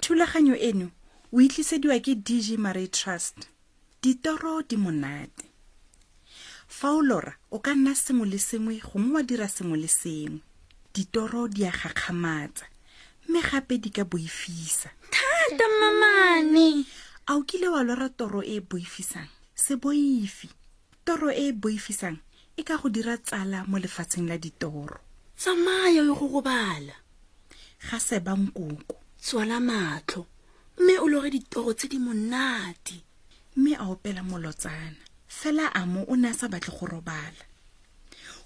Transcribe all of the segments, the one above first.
thulaganyo eno o e tlisediwa ke dg marie trust ditoro di monate fa o lora o ka nna sengwe le sengwe gongwe wa dira sengwe le sengwe ditoro di a gakgamatsa mme gape di ka boifisa thata mamane a o kile wa lora toro e e boifisang se boifi toro e e boifisang e ka go dira tsala mo lefatsheng la ditoro tsamaya yo go gobala ga seba nkoko tswala matlho mme o loge ditoro tse di monate mme a opela molotsana fela a mo o ne a sa batle go robala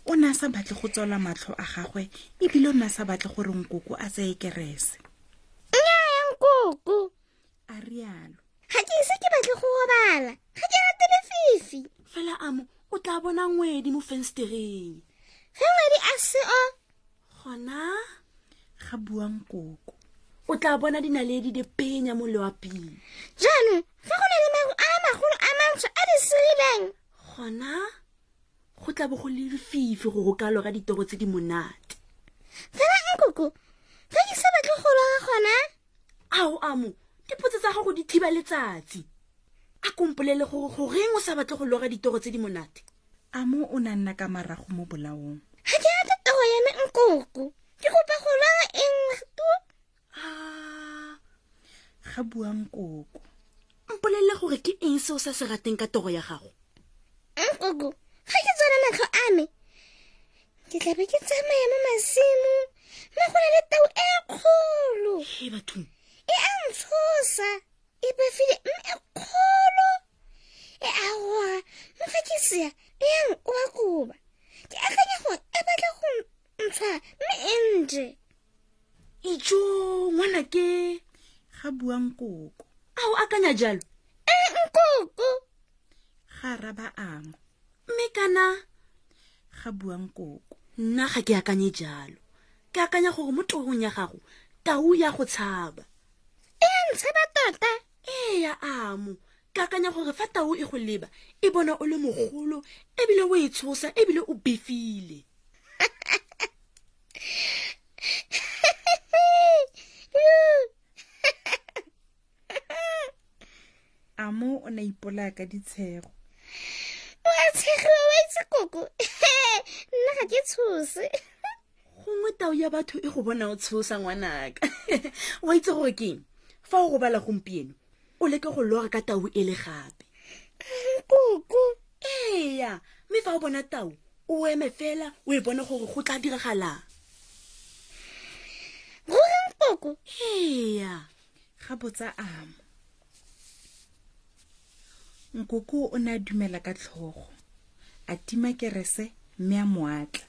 o ne a sa batle go tswala matlho a gagwe ebile o ne a sa batle gore nkoko a tseye kerese nnyaya nkoko a rialo ga ke ise ke batle go gobala ga ke rate lefifi fela amo o tla bona ngwedi mo fenstereng ge ngwedi a seo gona ga bua nkoko o tla bona dinaledi di penya mo leaping jaanong ge go na le maru a a magolo a mantsho a di segileng gona go tla bo go le lefifi go go ka loga ditoro tse di monate fela nkoko ge ke sa batle go loga gona ao amo dipotse tsa gago di thiba letsatsi a kompolele gore goreng o sa batle go loga ditoro tse di monate a mo o ne a nna ka marago mo bolaong ga ke rate toro ya me nkoko ke kopa go loga e nngwe tu a ga bua nkoko mpolelele gore ke eng se o sa se rateng ka toro ya gago nkoko ga ke tswala matlho a me ke tlabe ke tsamaya mo masimo mme go na le tau e kgolo he bathong e a ntshosa e befile mme e kgolo e a goa mme fa ke sea e yang o a koba ke akanya gore e batla go ntsha mme e nje ijo ngwana ke ga bua nkoko ao akanya jalo e nkoko ga araba amo mme kana ga bua nkoko nna ga ke akanye jalo ke akanya gore mo torong ya gago tau ya go tshaba e a ntshaba tota ee amo ke akanya gore fa tau e go leba e bona o le mogolo ebile o e tshosa ebile o befile a mo o ne a ipolaya ka ditshego o a tshegiwa o itse koko nna ga ke tshose gongwe tau ya batho e go bona o tshosa ngwanaka wa itse gore keng fa o robala gompieno o leke go lora ka tau e le gape koko eya mme fa o bona tau o eme fela o e bone gore go tla diragalang ruri nkoko eya ga botsa amo nkoko o ne a dumela ka tlhogo a tima kerese mme a moatla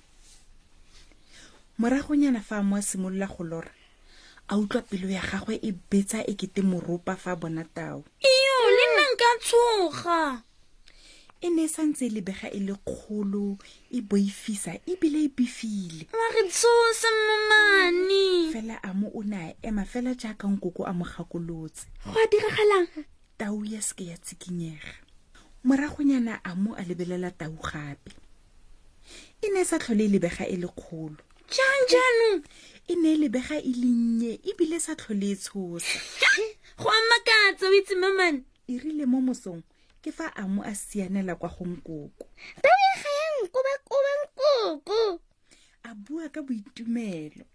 moragonyana fa a mo a simolola go lora a utlwa pelo ya gagwe e betsa e kete moropa fa a bona tao iyo le nna nka tshoga e ne e santse e lebega e le kgolo e boifisa ebile e befile wa re tshosa mamane fela a mo o ne a ema fela jaaka nkoko a mo gakolotse go a diragalang tau ya seke ya tsikinyega moragonyana a mo a lebelela tau gape e ne e sa tlhole e lebega e le kgolo jang jaanong e ne e lebega e le nnye ebile e sa tlhole e tshosa go a makatsa o itse mamane e rile mo mosong ke fa a mo a sianela kwa go nkoko tau ya ga ya nkobakoba nkoko a bua ka boitumelo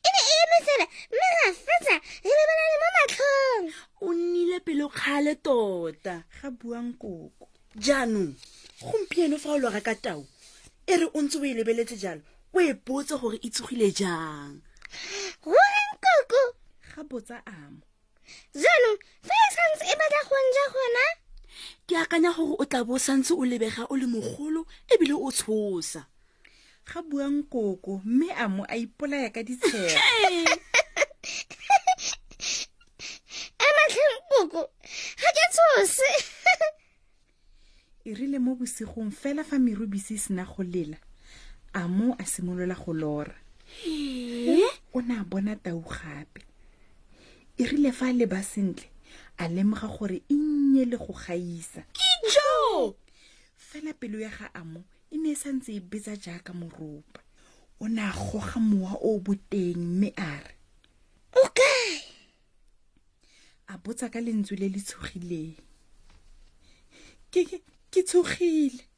e ne e eme fela mme ra fetsa re lebelane mo matlhong o nnile pelo kgale tota ga bua nkoko jaanong gompieno fa o lora ka tao e re o ntse o e lebeletse jalo o e botse gore e tsogile jang ruri nkoko ga botsa amo jaanong fa e santse e batla go nja gona ke akanya gore o tla bo o santse o lebega o le mogolo ebile o tshosa ga bua nkoko mme a mo a ipolaya ka ditshego ee a matlheng koko ga ke tshose e rile mo bosigong fela fa merubisi e sena go lela a mo a simolola go lora o ne a bona tau gape e rile fa a leba sentle a lemoga gore e nnye le go gaisa jo fela pelo ya ga amo e ne e santse e betsa jaaka moropa o ne a goga mowa o o boteng mme a re o kae botsa ka lentswe le le tshogileng ke ke- ke tshogile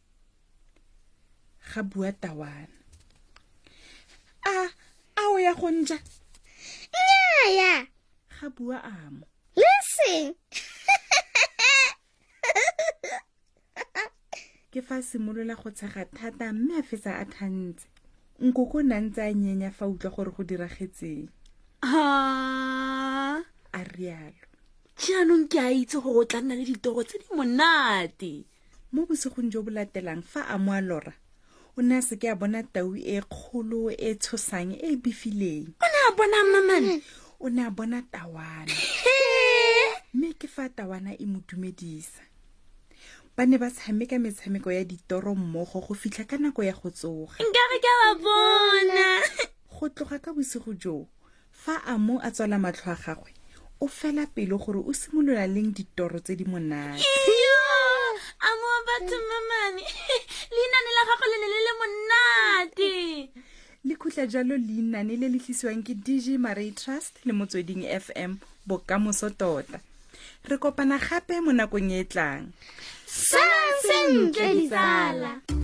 ga bua tawana a a o ya go nja nnyaya ga bua amo le seng ke fa a simolola go tshega thata mme a fetsa a thantse nkoko o ne a ntse a nyenya fa a utlwa gore go diragetseng a a rialo Ah. jaanong ke a itse gore o tla nna le ditoro tse di monate mo bosigong jo bo latelang fa a mo a lora o ne a seke a bona tau e kgolo e tshosang e e befileng o ne a bona mamane o ne a bona tawana mme ke fa tawana e mo dumedisa ba ne ba tshameka metshameko ya ditoro mmogo go fitlha ka nako ya go tsoga nka re ka ba bona go tloga ka bosigo joo fa a mo a tswala matlho a gagwe o fela pelo gore o simolola leng ditoro tse di monate Iyo, a mo batho mamane leinane la gago le ne le le monate le khutla jalo leinane le le tlisiwang ke dg marai trust le motsweding fm bokamoso tota re kopana gape mo nakong e e tlang sa sentle ditsala